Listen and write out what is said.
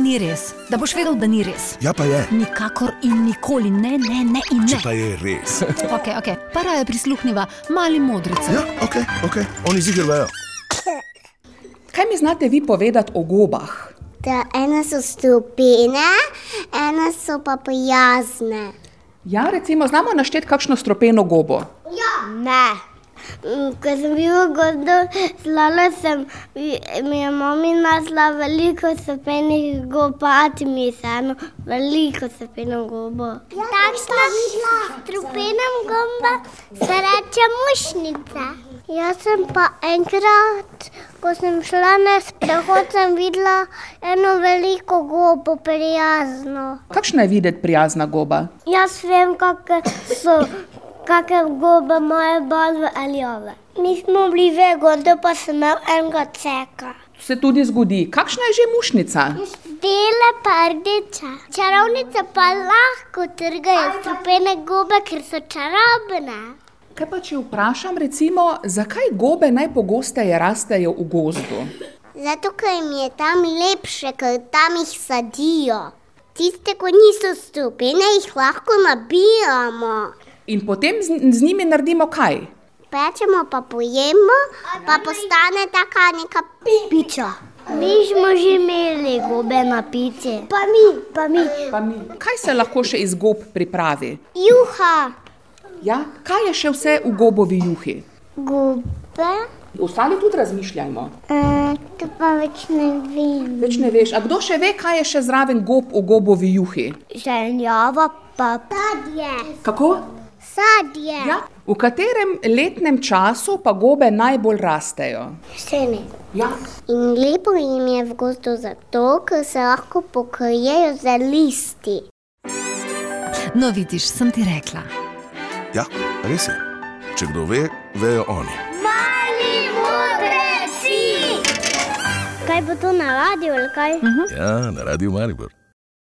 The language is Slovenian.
ni res, da boš vedel, da ni res. Ja, pa je. Nikakor in nikoli, ne, ne, ne in Če ne. pa je res. Okay, okay. Para je prisluhnila, mali modrica. Ja, ok, ok, oni zigrajo. Kaj mi znate vi povedati o gobah? Da ene so strupene, ene so pa prijazne. Ja, recimo, znamo našteti kakšno stropeno gobo. Ja. Ne. Mm, Ko sem bila gordo, slala sem, mi- mi je mami nasla veliko sepenih gopati, mi je eno veliko sepeno gobo. Takšna strupenem gomba se reče mušnica. Jaz sem pa enkrat, ko sem šla na sprehod, sem videla eno veliko gobo, prijazno. Kakšna je videti prijazna goba? Jaz vem, kakšne so kakšne gobe moje barve ali ove. Mi smo bili vegordo, pa sem imel enega ceka. Se tudi zgodi. Kakšna je že mušnica? Bele pa rdeče. Čarovnice pa lahko trgajo strupene gobe, ker so čarobne. Kaj pa če vprašam, recimo, zakaj gobe najpogosteje rastejo v gozdu? Zato, ker jim je tam lepše, ker tam jih sadijo. Tiste, ko niso strupene, jih lahko nabiramo. In potem z, z njimi naredimo kaj? Pečemo, pa pojemo, pa postane taka neka piča. Mi smo že imeli gobe na pici. Pa mi, pa mi. Kaj se lahko še iz gob pripravi? Juha, Ja, kaj je še vse v gobovi juhi? gobe, Ostali tudi razmišljajmo. e, to pa več ne vem. Več ne veš. A kdo še ve, kaj je še zraven gob v gobovi juhi? Željava pa sadje. Kako? Sadje. Ja. V katerem letnem času pa gobe najbolj rastejo? Šteni. Ja. In lepo jim je v gozdu zato, ker se lahko pokrijejo za listi. No, vidiš, sem ti rekla. Ja, res je. Če kdo ve, vejo oni. Mali modri si! Kaj bo to na radiju ali kaj? Ja, na radiju Maribor.